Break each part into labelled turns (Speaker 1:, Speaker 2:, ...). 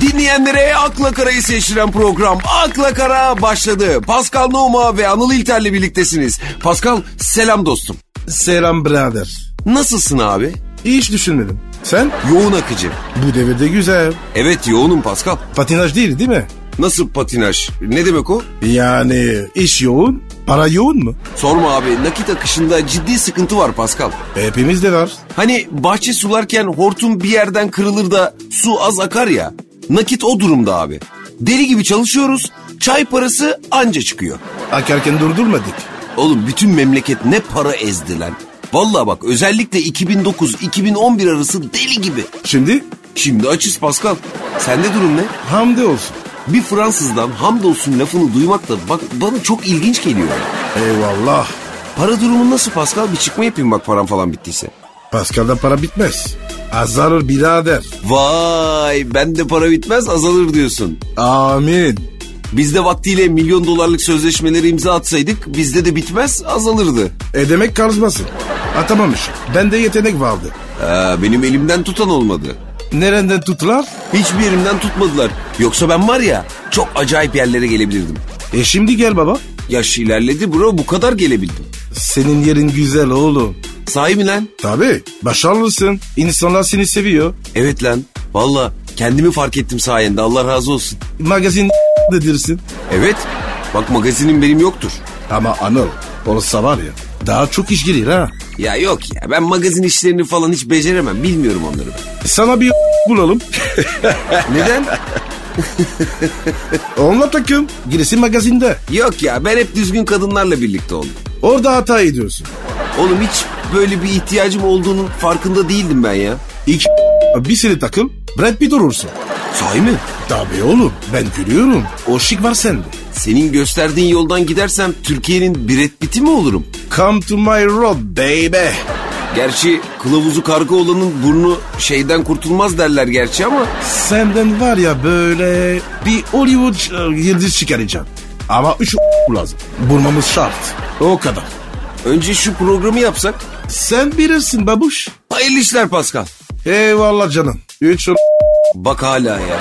Speaker 1: Bilmeyenlere akla karayı seçtiren program Akla Kara başladı. Pascal Numa ve Anıl İlter'le birliktesiniz. Pascal selam dostum.
Speaker 2: Selam birader.
Speaker 1: Nasılsın abi?
Speaker 2: Hiç düşünmedim. Sen?
Speaker 1: Yoğun akıcı.
Speaker 2: Bu devirde güzel.
Speaker 1: Evet yoğunum Pascal.
Speaker 2: Patinaj değil değil mi?
Speaker 1: Nasıl patinaj? Ne demek o?
Speaker 2: Yani iş yoğun, para yoğun mu?
Speaker 1: Sorma abi nakit akışında ciddi sıkıntı var Pascal.
Speaker 2: Hepimizde E, var.
Speaker 1: Hani bahçe sularken hortum bir yerden kırılır da su az akar ya. Nakit o durumda abi. Deli gibi çalışıyoruz. Çay parası anca çıkıyor.
Speaker 2: Akarken durdurmadık.
Speaker 1: Oğlum bütün memleket ne para ezdi lan. Valla bak özellikle 2009-2011 arası deli gibi.
Speaker 2: Şimdi
Speaker 1: Şimdi açız Pascal. Sende durum ne?
Speaker 2: hamdi olsun.
Speaker 1: Bir Fransızdan hamdolsun lafını duymak da bak bana çok ilginç geliyor.
Speaker 2: Eyvallah.
Speaker 1: Para durumun nasıl Pascal? Bir çıkma yapayım bak param falan bittiyse.
Speaker 2: Pascal'da para bitmez. Azarır birader.
Speaker 1: Vay bende para bitmez azalır diyorsun.
Speaker 2: Amin.
Speaker 1: Biz de vaktiyle milyon dolarlık sözleşmeleri imza atsaydık bizde de bitmez azalırdı.
Speaker 2: E demek karizmasın. Atamamış. Bende yetenek vardı.
Speaker 1: Aa, benim elimden tutan olmadı.
Speaker 2: Nereden tuttular?
Speaker 1: Hiçbir yerimden tutmadılar. Yoksa ben var ya çok acayip yerlere gelebilirdim.
Speaker 2: E şimdi gel baba.
Speaker 1: Yaş ilerledi bro bu kadar gelebildim.
Speaker 2: Senin yerin güzel oğlum.
Speaker 1: Sahi mi lan?
Speaker 2: Tabii. Başarılısın. İnsanlar seni seviyor.
Speaker 1: Evet lan. Valla kendimi fark ettim sayende Allah razı olsun.
Speaker 2: Magazin dedirsin.
Speaker 1: Evet. Bak magazinim benim yoktur.
Speaker 2: Ama Anıl olsa var ya daha çok iş girir ha.
Speaker 1: Ya yok ya ben magazin işlerini falan hiç beceremem. Bilmiyorum onları ben.
Speaker 2: Sana bir bulalım.
Speaker 1: Neden?
Speaker 2: Onunla takım. Girsin magazinde.
Speaker 1: yok ya ben hep düzgün kadınlarla birlikte oldum.
Speaker 2: Orada hata ediyorsun.
Speaker 1: Oğlum hiç böyle bir ihtiyacım olduğunun farkında değildim ben ya.
Speaker 2: İki bir seni takım. Brad Pitt olursun.
Speaker 1: Sahi mi?
Speaker 2: Tabii oğlum ben gülüyorum. O şık var sende.
Speaker 1: Senin gösterdiğin yoldan gidersem Türkiye'nin Brad Pitt'i mi olurum?
Speaker 2: Come to my road baby.
Speaker 1: Gerçi kılavuzu karga olanın burnu şeyden kurtulmaz derler gerçi ama
Speaker 2: Senden var ya böyle bir Hollywood e, yıldız çıkaracağım. Ama üç lazım. Bulmamız şart. O kadar.
Speaker 1: önce şu programı yapsak.
Speaker 2: Sen bilirsin babuş.
Speaker 1: Hayırlı işler Pascal.
Speaker 2: Eyvallah canım. Üç
Speaker 1: Bak hala ya.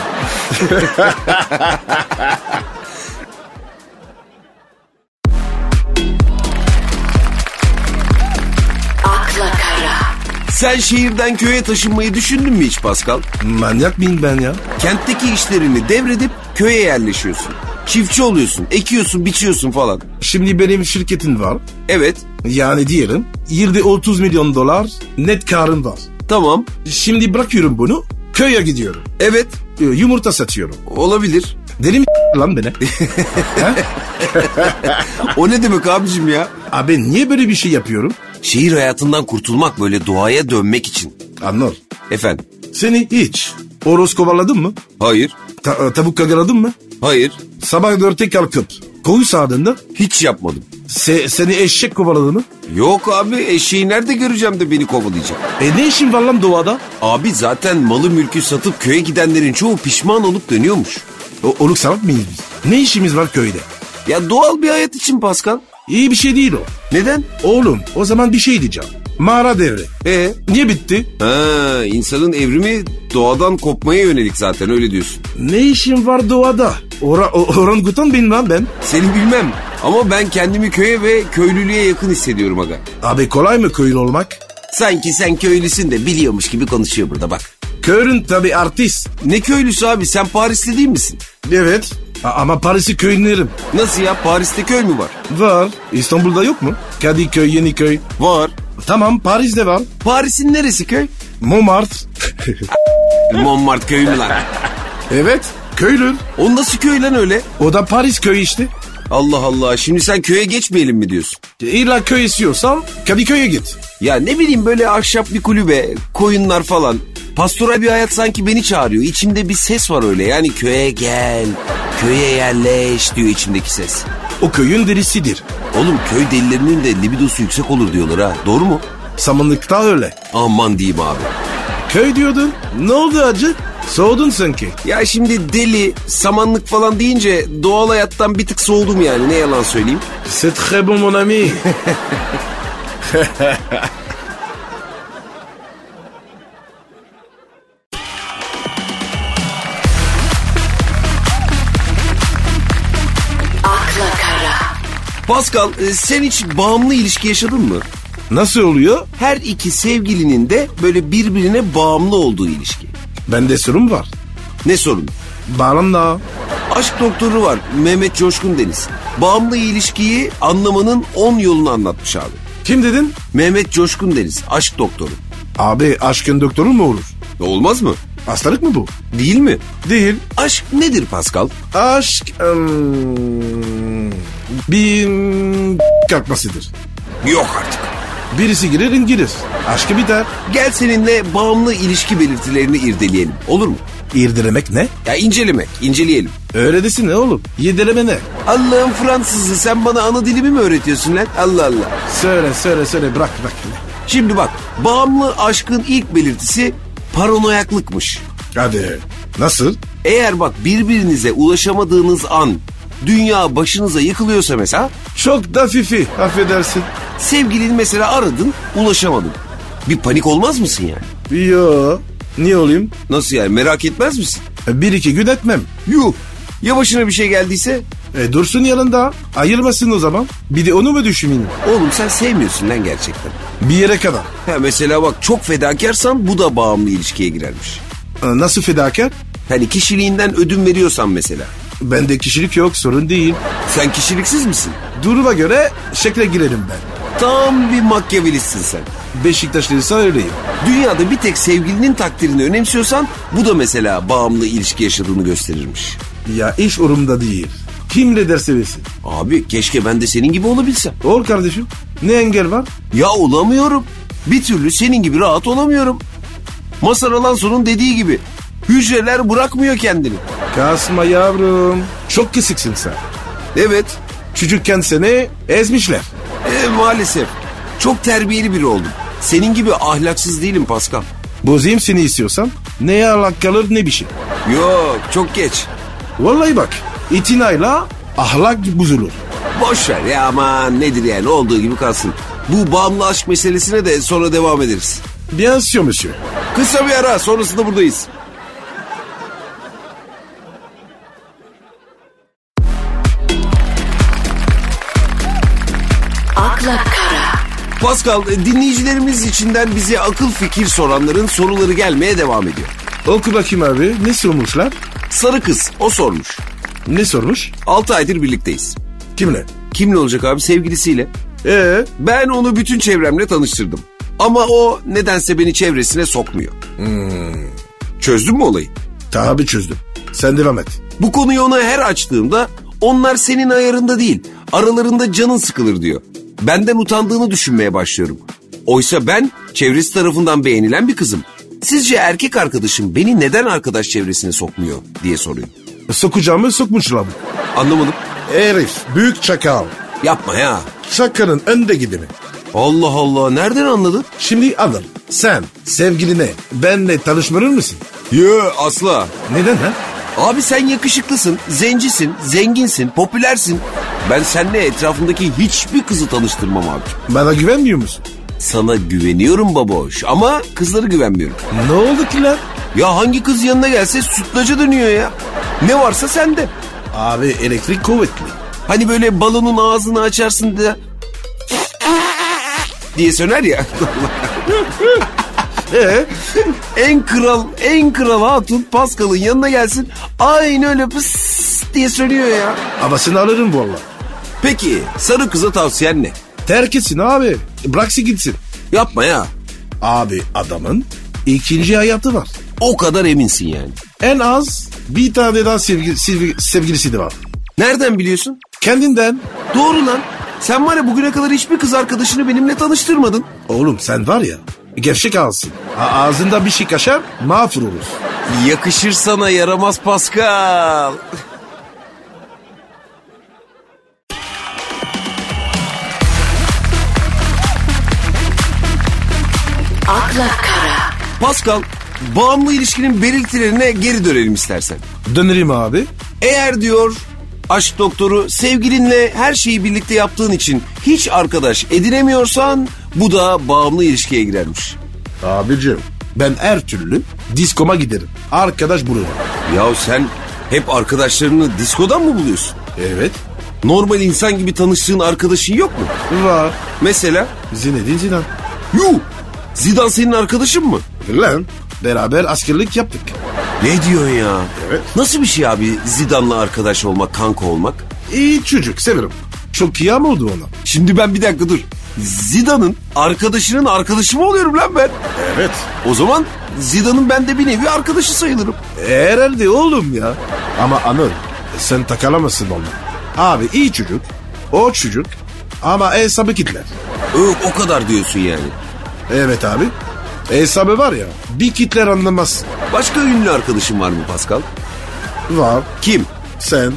Speaker 3: akla kara,
Speaker 1: Sen şehirden köye taşınmayı düşündün mü hiç Pascal?
Speaker 2: Manyak mıyım ben ya?
Speaker 1: Kentteki işlerini devredip köye yerleşiyorsun. Çiftçi oluyorsun, ekiyorsun, biçiyorsun falan.
Speaker 2: Şimdi benim şirketim var.
Speaker 1: Evet,
Speaker 2: Yani diyelim yılda 30 milyon dolar net karım var.
Speaker 1: tamam,
Speaker 2: Şimdi bırakıyorum bunu köye gidiyorum.
Speaker 1: evet,
Speaker 2: Ee, Yumurta satıyorum.
Speaker 1: olabilir.
Speaker 2: Deli mi lan beni? Ha?
Speaker 1: O ne demek abicim ya?
Speaker 2: Abi niye böyle bir şey yapıyorum?
Speaker 1: Şehir hayatından kurtulmak böyle doğaya dönmek için.
Speaker 2: Anlar.
Speaker 1: Efendim?
Speaker 2: Seni hiç horoz kovaladın mı?
Speaker 1: Hayır,
Speaker 2: Ta- tavuk kagaladın mı?
Speaker 1: hayır,
Speaker 2: Sabah dörtte kalkıp koyu sağdığında
Speaker 1: hiç yapmadım.
Speaker 2: se- seni eşek kovaladı mı?
Speaker 1: Yok abi eşeği nerede göreceğim de beni kovalayacak.
Speaker 2: E ne işin var lan doğada?
Speaker 1: Abi zaten malı mülkü satıp köye gidenlerin çoğu pişman olup dönüyormuş.
Speaker 2: O- oluk salak mıyız biz? Ne işimiz var köyde?
Speaker 1: Ya doğal bir hayat için Pascal.
Speaker 2: İyi bir şey değil o.
Speaker 1: Neden?
Speaker 2: Oğlum o zaman bir şey diyeceğim. Mağara devri.
Speaker 1: Ee?
Speaker 2: Niye bitti?
Speaker 1: Ha, insanın evrimi doğadan kopmaya yönelik zaten öyle diyorsun.
Speaker 2: Ne işin var doğada? Ora, o- orangutan benim lan ben.
Speaker 1: Seni bilmem ama ben kendimi köye ve köylülüğe yakın hissediyorum aga.
Speaker 2: Abi kolay mı köylü olmak?
Speaker 1: Sanki sen köylüsün de biliyormuş gibi konuşuyor burada bak.
Speaker 2: Köylün tabi artist.
Speaker 1: Ne köylüsü abi sen Parisli değil misin?
Speaker 2: Evet. A- ama Paris'i köylülerim.
Speaker 1: Nasıl ya Paris'te köy mü var?
Speaker 2: Var. İstanbul'da yok mu? Kadıköy, Yeniköy.
Speaker 1: Var.
Speaker 2: Tamam Paris'te var.
Speaker 1: Paris'in neresi köy?
Speaker 2: Montmartre.
Speaker 1: Montmartre köyü mü lan?
Speaker 2: evet. Köylü.
Speaker 1: O nasıl köy lan öyle?
Speaker 2: O da Paris köyü işte.
Speaker 1: Allah Allah şimdi sen köye geçmeyelim mi diyorsun?
Speaker 2: İlla köy istiyorsan Kadıköy'e git.
Speaker 1: Ya ne bileyim böyle ahşap bir kulübe, koyunlar falan. Pastoral bir hayat sanki beni çağırıyor. İçimde bir ses var öyle. Yani köye gel, köye yerleş diyor içimdeki ses.
Speaker 2: O köyün delisidir.
Speaker 1: Oğlum köy delilerinin de libidosu yüksek olur diyorlar ha. Doğru mu?
Speaker 2: Samanlıkta öyle.
Speaker 1: Aman diyeyim abi.
Speaker 2: Köy diyordun. Ne oldu acı? Soğudun sanki.
Speaker 1: Ya şimdi deli, samanlık falan deyince doğal hayattan bir tık soğudum yani. Ne yalan söyleyeyim.
Speaker 2: C'est très bon mon ami.
Speaker 1: Pascal e, sen hiç bağımlı ilişki yaşadın mı?
Speaker 2: Nasıl oluyor?
Speaker 1: Her iki sevgilinin de böyle birbirine bağımlı olduğu ilişki.
Speaker 2: Bende sorun var.
Speaker 1: Ne sorun?
Speaker 2: Bağlanma.
Speaker 1: Aşk doktoru var Mehmet Coşkun Deniz. Bağımlı ilişkiyi anlamanın 10 yolunu anlatmış abi.
Speaker 2: Kim dedin?
Speaker 1: Mehmet Coşkun Deniz aşk doktoru. E,
Speaker 2: Abi aşkın doktoru mu olur?
Speaker 1: Olmaz mı?
Speaker 2: Hastalık mı bu?
Speaker 1: Değil mi?
Speaker 2: Değil.
Speaker 1: Aşk nedir Pascal?
Speaker 2: Aşk... ım, bir kalkmasıdır.
Speaker 1: Yok artık.
Speaker 2: Birisi girer İngiliz. Aşkı biter.
Speaker 1: Gel seninle bağımlı ilişki belirtilerini irdeleyelim. Olur mu?
Speaker 2: İrdelemek ne?
Speaker 1: Ya incelemek, inceleyelim.
Speaker 2: Öyle desin ne oğlum? Yedireme ne?
Speaker 1: Allah'ın Fransızı sen bana ana dilimi mi öğretiyorsun lan? Allah Allah.
Speaker 2: Söyle söyle söyle bırak bırak.
Speaker 1: Şimdi bak bağımlı aşkın ilk belirtisi paranoyaklıkmış.
Speaker 2: Hadi. Nasıl?
Speaker 1: Eğer bak birbirinize ulaşamadığınız an dünya başınıza yıkılıyorsa mesela
Speaker 2: Çok da fifi. Affedersin.
Speaker 1: sevgilini mesela aradın ulaşamadın. Bir panik olmaz mısın yani?
Speaker 2: Yo. Niye olayım?
Speaker 1: Nasıl yani merak etmez misin?
Speaker 2: Bir iki gün etmem.
Speaker 1: Yuh ya başına bir şey geldiyse?
Speaker 2: E, dursun yanında. Ayırmasın o zaman. Bir de onu mu düşüneyim?
Speaker 1: Oğlum sen sevmiyorsun lan gerçekten.
Speaker 2: Bir yere kadar.
Speaker 1: Ha mesela bak çok fedakarsan bu da bağımlı ilişkiye girermiş.
Speaker 2: E, Nasıl fedakar?
Speaker 1: Hani kişiliğinden ödün veriyorsan mesela.
Speaker 2: Bende kişilik yok sorun değil.
Speaker 1: Sen kişiliksiz misin?
Speaker 2: Duruma göre şekle girerim ben.
Speaker 1: Tam bir makyavelistsin sen.
Speaker 2: Beşiktaşlıysa öyleyim.
Speaker 1: Dünyada bir tek sevgilinin takdirini önemsiyorsan bu da mesela bağımlı ilişki yaşadığını gösterirmiş.
Speaker 2: Ya iş urumda değil. Kim ne derse desin.
Speaker 1: Abi keşke ben de senin gibi olabilsem.
Speaker 2: Ol kardeşim. Ne engel var?
Speaker 1: Ya olamıyorum. Bir türlü senin gibi rahat olamıyorum. Masar Alanso'nun dediği gibi hücreler bırakmıyor kendini.
Speaker 2: Kasma yavrum. Çok kesiksin sen.
Speaker 1: Evet
Speaker 2: Çocukken seni ezmişler.
Speaker 1: e, maalesef çok terbiyeli biri oldum. Senin gibi ahlaksız değilim Pascal.
Speaker 2: Bozayım seni istiyorsan. Neye alak kalır ne bir şey.
Speaker 1: Yok çok geç.
Speaker 2: Vallahi bak. itinayla ahlak bozulur.
Speaker 1: Boş ver ya aman nedir yani olduğu gibi kalsın. Bu bağımlı aşk meselesine de sonra devam ederiz.
Speaker 2: Bien sûr monsieur.
Speaker 1: Kısa bir ara sonrasında buradayız.
Speaker 3: Akla Kara.
Speaker 1: Pascal dinleyicilerimiz içinden bize akıl fikir soranların soruları gelmeye devam ediyor.
Speaker 2: Oku bakayım abi. Ne sormuşlar?
Speaker 1: Sarı kız o sormuş.
Speaker 2: Ne sormuş?
Speaker 1: 6 aydır birlikteyiz.
Speaker 2: Kimle?
Speaker 1: Kimle olacak abi sevgilisiyle?
Speaker 2: Ee,
Speaker 1: Ben onu bütün çevremle tanıştırdım. Ama o nedense beni çevresine sokmuyor. Hmm. Çözdün mü olayı?
Speaker 2: tabi çözdüm. Sen devam et.
Speaker 1: Bu konuyu ona her açtığımda onlar senin ayarında değil, aralarında canın sıkılır diyor. Benden utandığını düşünmeye başlıyorum. Oysa ben çevresi tarafından beğenilen bir kızım. Sizce erkek arkadaşım beni neden arkadaş çevresine sokmuyor diye soruyor.
Speaker 2: Sokacağımı sokmuşlar bu.
Speaker 1: Anlamadım.
Speaker 2: Herif büyük çakal.
Speaker 1: Yapma ya.
Speaker 2: Çakanın önde gideni.
Speaker 1: Allah Allah nereden anladın?
Speaker 2: Şimdi alın. Sen sevgiline benle tanışmır mısın?
Speaker 1: Yo asla.
Speaker 2: Neden ha?
Speaker 1: Abi sen yakışıklısın, zencisin, zenginsin, popülersin. Ben seninle etrafındaki hiçbir kızı tanıştırmam abi.
Speaker 2: Bana güvenmiyor musun?
Speaker 1: Sana güveniyorum baboş ama kızlara güvenmiyorum.
Speaker 2: Ne oldu ki lan?
Speaker 1: Ya hangi kız yanına gelse sütlaca dönüyor ya. Ne varsa sende.
Speaker 2: Abi elektrik kuvvetli.
Speaker 1: Hani böyle balonun ağzını açarsın da diye söner ya.
Speaker 2: Ee,
Speaker 1: en kral, en kral hatun Pascal'ın yanına gelsin. Aynı öyle pıs diye sönüyor ya.
Speaker 2: havasını alırım valla.
Speaker 1: Peki sarı kıza tavsiyen ne?
Speaker 2: Terk etsin abi. Bıraksın gitsin.
Speaker 1: Yapma ya.
Speaker 2: Abi adamın ikinci hayatı var.
Speaker 1: O kadar eminsin yani.
Speaker 2: En az bir tane daha sevgi, sevgi- sevgilisi de var.
Speaker 1: Nereden biliyorsun?
Speaker 2: Kendinden.
Speaker 1: Doğru lan. Sen var ya bugüne kadar hiçbir kız arkadaşını benimle tanıştırmadın.
Speaker 2: Oğlum sen var ya gevşek ağzın. A- ağzında bir şey kaşar mağfur olur.
Speaker 1: Yakışır sana yaramaz Pascal.
Speaker 3: Akla Kara.
Speaker 1: Pascal, bağımlı ilişkinin belirtilerine geri dönelim istersen.
Speaker 2: Dönerim abi.
Speaker 1: Eğer diyor aşk doktoru sevgilinle her şeyi birlikte yaptığın için hiç arkadaş edinemiyorsan bu da bağımlı ilişkiye girermiş.
Speaker 2: Abicim ben her türlü diskoma giderim. Arkadaş bulurum.
Speaker 1: Ya sen hep arkadaşlarını diskodan mı buluyorsun?
Speaker 2: Evet.
Speaker 1: Normal insan gibi tanıştığın arkadaşın yok mu?
Speaker 2: Var.
Speaker 1: Mesela
Speaker 2: Zinedine Zidane.
Speaker 1: Yu Zidane senin arkadaşın mı?
Speaker 2: Lan beraber askerlik yaptık.
Speaker 1: Ne diyorsun ya?
Speaker 2: Evet.
Speaker 1: Nasıl bir şey abi Zidane'la arkadaş olmak, kanka olmak?
Speaker 2: İyi çocuk severim. Çok iyi ama oldu ona.
Speaker 1: Şimdi ben bir dakika dur. Zidane'ın arkadaşının arkadaşı mı oluyorum lan ben?
Speaker 2: Evet.
Speaker 1: O zaman Zidane'ın ben de bir nevi arkadaşı sayılırım.
Speaker 2: Herhalde oğlum ya. Ama Anıl sen takalamasın onu. Abi iyi çocuk. O çocuk. Ama hesabı kitler.
Speaker 1: Ö, o kadar diyorsun yani.
Speaker 2: Evet abi. E, Hesabı var ya bir kitler anlamaz.
Speaker 1: Başka ünlü arkadaşın var mı Pascal?
Speaker 2: Var.
Speaker 1: Kim?
Speaker 2: Sen.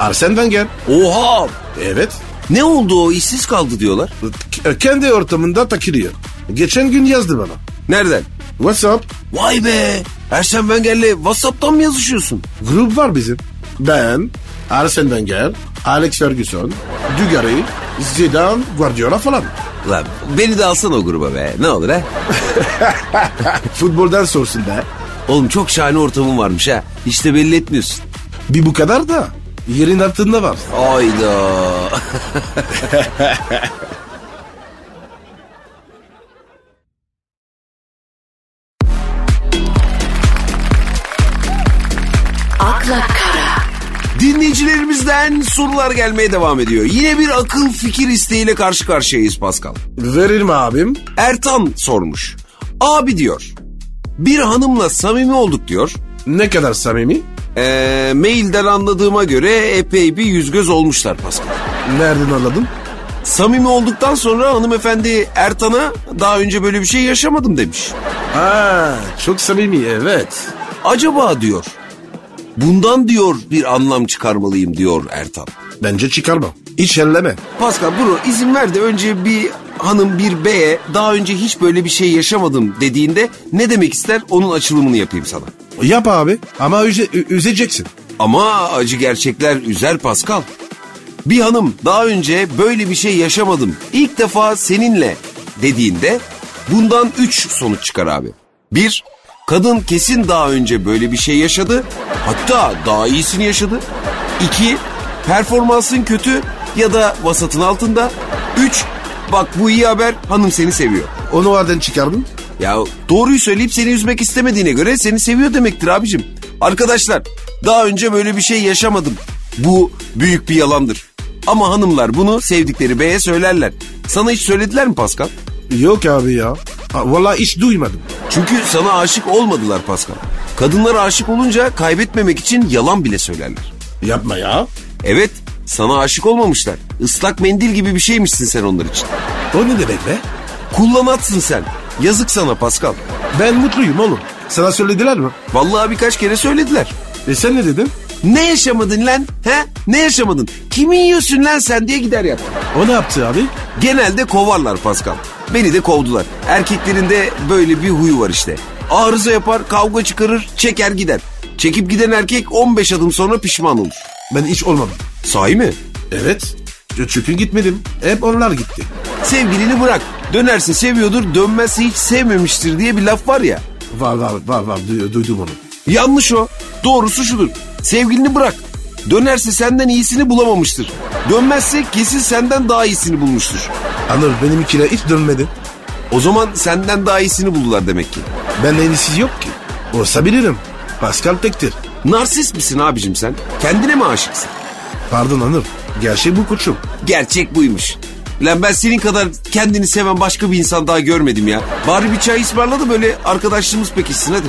Speaker 2: Arsene Wenger.
Speaker 1: Oha!
Speaker 2: Evet.
Speaker 1: Ne oldu o işsiz kaldı diyorlar.
Speaker 2: K- kendi ortamında takılıyor. Geçen gün yazdı bana.
Speaker 1: Nereden?
Speaker 2: WhatsApp
Speaker 1: Vay be! Ersen Wenger'le Whatsapp'tan mı yazışıyorsun?
Speaker 2: grup var bizim. Ben, Arsene Wenger, Alex Ferguson, Dugarry, Zidane, Guardiola falan.
Speaker 1: Lan beni de alsana o gruba be. Ne olur ha?
Speaker 2: Futboldan sorsun be.
Speaker 1: Oğlum çok şahane ortamın varmış ha. Hiç de belli etmiyorsun.
Speaker 2: Bir bu kadar da yerin altında var.
Speaker 1: Ayda.
Speaker 3: akla kara,
Speaker 1: Dinleyicilerimizden sorular gelmeye devam ediyor. Yine bir akıl fikir isteğiyle karşı karşıyayız Pascal.
Speaker 2: Verir mi abim?
Speaker 1: Ertan sormuş. Abi diyor. Bir hanımla samimi olduk diyor.
Speaker 2: Ne kadar samimi?
Speaker 1: Ee, mailden anladığıma göre epey bir yüz göz olmuşlar Pascal.
Speaker 2: Nereden anladın?
Speaker 1: Samimi olduktan sonra hanımefendi Ertan'a daha önce böyle bir şey yaşamadım demiş.
Speaker 2: Ha, çok samimi evet.
Speaker 1: Acaba diyor. Bundan diyor bir anlam çıkarmalıyım diyor Ertan.
Speaker 2: Bence çıkarma. Hiç elleme.
Speaker 1: Pascal bunu izin ver de önce bir hanım bir beye daha önce hiç böyle bir şey yaşamadım dediğinde ne demek ister onun açılımını yapayım sana.
Speaker 2: Yap abi ama üze, ü- üzeceksin.
Speaker 1: Ama acı gerçekler üzer Pascal. Bir hanım daha önce böyle bir şey yaşamadım ilk defa seninle dediğinde bundan 3 sonuç çıkar abi. 1. Kadın kesin daha önce böyle bir şey yaşadı hatta daha iyisini yaşadı. 2. Performansın kötü ya da vasatın altında. 3. Bak bu iyi haber hanım seni seviyor.
Speaker 2: Onu oradan çıkardın.
Speaker 1: Ya doğruyu söyleyip seni üzmek istemediğine göre seni seviyor demektir abicim. Arkadaşlar daha önce böyle bir şey yaşamadım. Bu büyük bir yalandır. Ama hanımlar bunu sevdikleri beye söylerler. Sana hiç söylediler mi Pascal?
Speaker 2: Yok abi ya. Ha, vallahi hiç duymadım.
Speaker 1: Çünkü sana aşık olmadılar Pascal. Kadınlara aşık olunca kaybetmemek için yalan bile söylerler.
Speaker 2: Yapma ya.
Speaker 1: Evet sana aşık olmamışlar. Islak mendil gibi bir şeymişsin sen onlar için.
Speaker 2: O ne demek be?
Speaker 1: Kullanatsın sen. Yazık sana Pascal.
Speaker 2: Ben mutluyum oğlum. Sana söylediler mi?
Speaker 1: Vallahi birkaç kere söylediler.
Speaker 2: E sen ne dedin?
Speaker 1: Ne yaşamadın lan? He? Ne yaşamadın? Kimi yiyorsun lan sen diye gider yap.
Speaker 2: O ne yaptı abi?
Speaker 1: Genelde kovarlar Pascal. Beni de kovdular. Erkeklerin de böyle bir huyu var işte. Arıza yapar, kavga çıkarır, çeker gider. Çekip giden erkek 15 adım sonra pişman olur.
Speaker 2: Ben hiç olmadım.
Speaker 1: Sahi mi?
Speaker 2: Evet. E, Çünkü gitmedim. Hep onlar gitti.
Speaker 1: Sevgilini bırak. Dönerse seviyordur, dönmezse hiç sevmemiştir diye bir laf var ya.
Speaker 2: Var var var var Du- duydum onu.
Speaker 1: Yanlış o. Doğrusu şudur. Sevgilini bırak. Dönerse senden iyisini bulamamıştır. Dönmezse kesin senden daha iyisini bulmuştur.
Speaker 2: Anıl benim ikile hiç dönmedi.
Speaker 1: O zaman senden daha iyisini buldular demek ki.
Speaker 2: Ben en iyisi yok ki. Olsa bilirim. Pascal tektir.
Speaker 1: Narsist misin abicim sen? Kendine mi aşıksın?
Speaker 2: Pardon Anıl. Gerçeği bu koçum.
Speaker 1: Gerçek buymuş. Lan ben senin kadar kendini seven başka bir insan daha görmedim ya. Bari bir çay ısmarla da böyle arkadaşlığımız pekişsin hadi.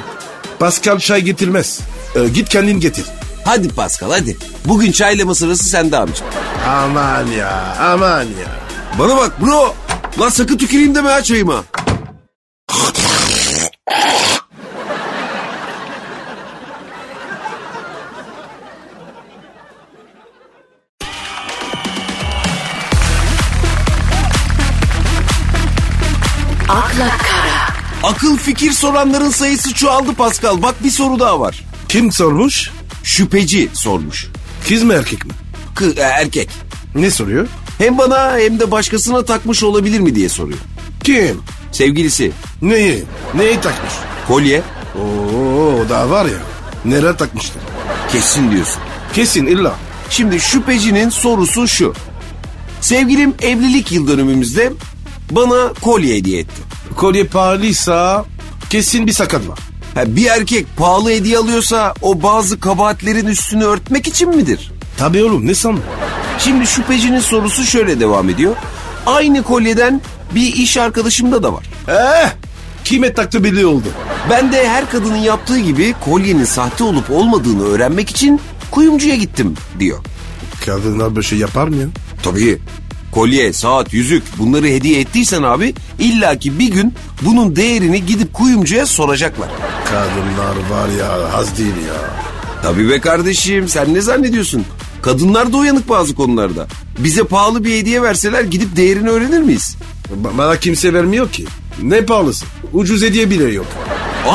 Speaker 2: Pascal çay getirmez. Ee, git kendin getir.
Speaker 1: Hadi Pascal hadi. Bugün çaylama sırası sende abicim.
Speaker 2: Aman ya aman ya.
Speaker 1: Bana bak bro. Lan sakın tüküreyim deme ha çayıma.
Speaker 3: akla kara,
Speaker 1: Akıl fikir soranların sayısı çoğaldı Pascal. Bak bir soru daha var.
Speaker 2: Kim sormuş?
Speaker 1: Şüpheci sormuş.
Speaker 2: Kız mı erkek mi?
Speaker 1: Kı- e, erkek.
Speaker 2: Ne soruyor?
Speaker 1: Hem bana hem de başkasına takmış olabilir mi diye soruyor.
Speaker 2: Kim?
Speaker 1: Sevgilisi,
Speaker 2: Neyi? Neyi takmış?
Speaker 1: kolye
Speaker 2: Oo o da var ya. Nereye takmıştır?
Speaker 1: kesin diyorsun.
Speaker 2: Kesin illa.
Speaker 1: Şimdi şüphecinin sorusu şu. Sevgilim evlilik yıl dönümümüzde bana kolye hediye etti.
Speaker 2: Kolye pahalıysa kesin bir sakat var.
Speaker 1: Ha, bir erkek pahalı hediye alıyorsa o bazı kabahatlerin üstünü örtmek için midir?
Speaker 2: Tabii oğlum ne sandın?
Speaker 1: Şimdi şüphecinin sorusu şöyle devam ediyor. Aynı kolyeden bir iş arkadaşımda da var.
Speaker 2: Eh, kime taktı belli oldu.
Speaker 1: Ben de her kadının yaptığı gibi kolyenin sahte olup olmadığını öğrenmek için kuyumcuya gittim diyor.
Speaker 2: Kadınlar böyle şey yapar mı ya?
Speaker 1: Tabii. Kolye, saat, yüzük bunları hediye ettiysen abi illaki bir gün bunun değerini gidip kuyumcuya soracaklar.
Speaker 2: Kadınlar var ya az değil ya.
Speaker 1: Tabii be kardeşim sen ne zannediyorsun? Kadınlar da uyanık bazı konularda. Bize pahalı bir hediye verseler gidip değerini öğrenir miyiz?
Speaker 2: Ba- bana kimse vermiyor ki. Ne pahalısı? Ucuz hediye bile yok.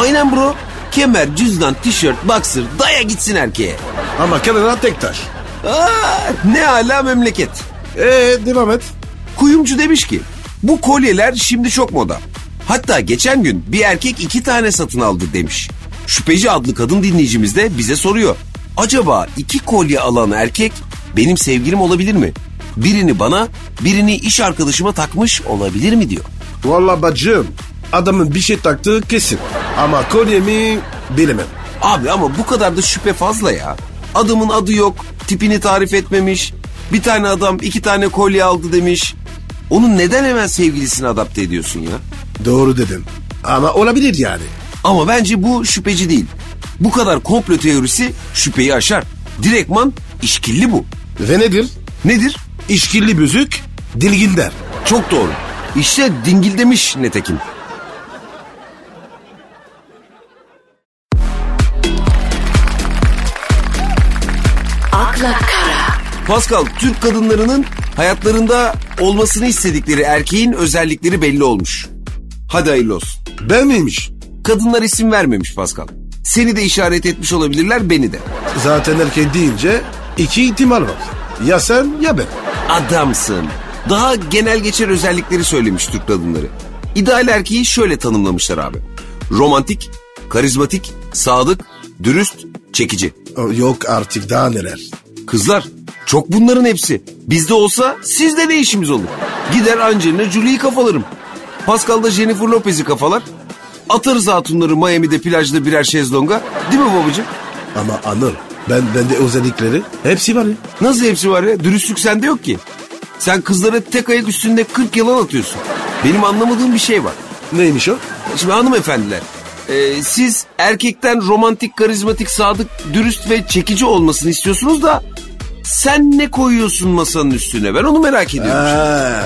Speaker 1: Aynen bro. Kemer, cüzdan, tişört, boxer daya gitsin erkeğe.
Speaker 2: Ama kadına tek taş.
Speaker 1: Aa, ne ala memleket.
Speaker 2: Eee E, devam et.
Speaker 1: Kuyumcu demiş ki bu kolyeler şimdi çok moda. Hatta geçen gün bir erkek iki tane satın aldı demiş. Şüpheci adlı kadın dinleyicimiz de bize soruyor. Acaba iki kolye alan erkek benim sevgilim olabilir mi? Birini bana, birini iş arkadaşıma takmış olabilir mi diyor.
Speaker 2: Vallahi bacım adamın bir şey taktığı kesin. Ama kolye mi bilemem.
Speaker 1: Abi ama bu kadar da şüphe fazla ya. Adamın adı yok, tipini tarif etmemiş. Bir tane adam iki tane kolye aldı demiş. Onu neden hemen sevgilisine adapte ediyorsun ya?
Speaker 2: Doğru dedin. Ama olabilir yani.
Speaker 1: Ama bence bu şüpheci değil. Bu kadar komplo teorisi şüpheyi aşar. Direktman işkilli bu.
Speaker 2: Ve nedir?
Speaker 1: Nedir?
Speaker 2: İşkilli büzük, dilgin der.
Speaker 1: Çok doğru. İşte dingil demiş netekim.
Speaker 3: akla kara,
Speaker 1: Pascal, Türk kadınlarının hayatlarında olmasını istedikleri erkeğin özellikleri belli olmuş. Hadi hayırlı olsun.
Speaker 2: Ben miymiş?
Speaker 1: Kadınlar isim vermemiş Pascal. Seni de işaret etmiş olabilirler, beni de.
Speaker 2: Zaten erkek deyince iki ihtimal var. Ya sen ya ben.
Speaker 1: Adamsın. Daha genel geçer özellikleri söylemiş Türk kadınları. İdeal erkeği şöyle tanımlamışlar abi. Romantik, karizmatik, sadık, dürüst, çekici.
Speaker 2: O, Yok artık daha neler.
Speaker 1: Kızlar çok bunların hepsi. Bizde olsa sizde ne işimiz olur? Gider Angelina Jolie'yi kafalarım. Pascal da Jennifer Lopez'i kafalar. Atarız hatunları Miami'de plajda birer şezlonga. Değil mi babacığım?
Speaker 2: Ama Anıl ben bende özellikleri hepsi var ya.
Speaker 1: Nasıl hepsi var ya? Dürüstlük sende yok ki. Sen kızlara tek ayak üstünde 40 yalan atıyorsun. Benim anlamadığım bir şey var.
Speaker 2: Neymiş o?
Speaker 1: Şimdi hanımefendiler, e, siz erkekten romantik, karizmatik, sadık, dürüst ve çekici olmasını istiyorsunuz da sen ne koyuyorsun masanın üstüne? Ben onu merak ediyorum.
Speaker 2: Ha.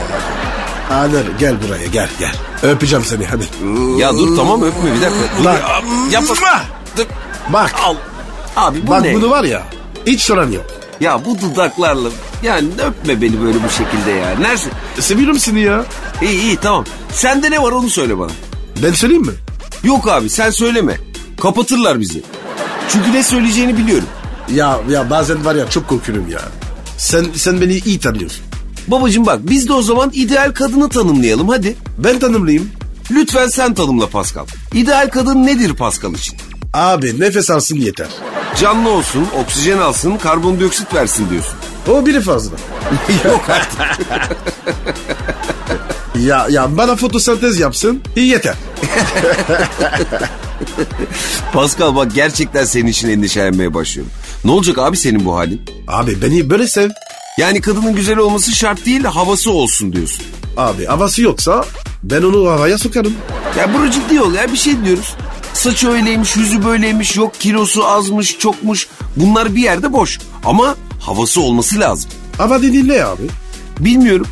Speaker 2: Anıl gel buraya Ee, gel gel. Öpeceğim seni hadi.
Speaker 1: Ya dur tamam öpme bir dakika. Dur,
Speaker 2: Lan.
Speaker 1: ya, yapma. Dur,
Speaker 2: Bak
Speaker 1: Al. Abi bu
Speaker 2: bak
Speaker 1: ne?
Speaker 2: bunu var ya hiç soran yok.
Speaker 1: Ya bu dudaklarla yani öpme beni böyle bu şekilde ya. Nerede?
Speaker 2: Seviyorum seni ya.
Speaker 1: İyi iyi tamam. Sende ne var onu söyle bana.
Speaker 2: Ben söyleyeyim mi?
Speaker 1: Yok abi sen söyleme. Kapatırlar bizi. Çünkü ne söyleyeceğini biliyorum.
Speaker 2: Ya ya bazen var ya çok korkuyorum ya. Sen sen beni iyi tanıyorsun.
Speaker 1: Babacım bak biz de o zaman ideal kadını tanımlayalım hadi.
Speaker 2: Ben tanımlıyım.
Speaker 1: Lütfen sen tanımla Pascal. İdeal kadın nedir Pascal için?
Speaker 2: Abi nefes alsın yeter.
Speaker 1: Canlı olsun, oksijen alsın, karbondioksit versin diyorsun.
Speaker 2: O biri fazla.
Speaker 1: Yok artık.
Speaker 2: Ya ya bana fotosentez yapsın iyi yeter.
Speaker 1: Pascal bak gerçekten senin için endişelenmeye başlıyorum. Ne olacak abi senin bu halin?
Speaker 2: Abi beni böyle sev.
Speaker 1: Yani kadının güzel olması şart değil, havası olsun diyorsun.
Speaker 2: Abi havası yoksa ben onu havaya sokarım.
Speaker 1: Ya bro ciddi ol ya bir şey diyoruz. Saçı öyleymiş, yüzü böyleymiş, yok kilosu azmış, çokmuş. Bunlar bir yerde boş. Ama havası olması lazım.
Speaker 2: Hava dediğin ne abi?
Speaker 1: Bilmiyorum.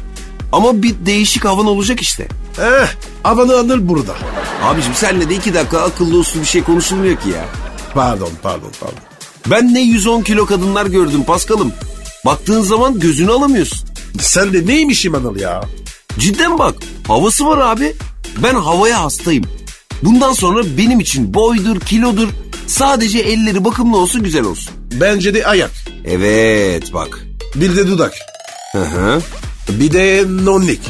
Speaker 1: Ama bir değişik havan olacak işte.
Speaker 2: Eh havanı anır burada.
Speaker 1: Abicim senle de iki dakika akıllı uslu bir şey konuşulmuyor ki ya.
Speaker 2: Pardon pardon pardon.
Speaker 1: Ben ne 110 kilo kadınlar gördüm Paskal'ım. Baktığın zaman gözünü alamıyorsun.
Speaker 2: Sen de neymişim Anıl ya?
Speaker 1: Cidden bak havası var abi. Ben havaya hastayım. Bundan sonra benim için boydur, kilodur. Sadece elleri bakımlı olsun güzel olsun.
Speaker 2: Bence de ayak.
Speaker 1: Evet bak.
Speaker 2: Bir de dudak.
Speaker 1: Hı hı.
Speaker 2: Bir de nonlik.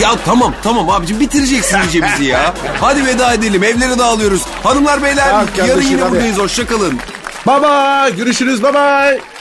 Speaker 1: Ya tamam tamam abicim bitireceksin iyice bizi ya. Hadi veda edelim evlere dağılıyoruz. Hanımlar beyler
Speaker 2: Tamam kardeşim,
Speaker 1: yarın yine
Speaker 2: hadi.
Speaker 1: buradayız hoşçakalın.
Speaker 2: Bye bye. Görüşürüz bye bye.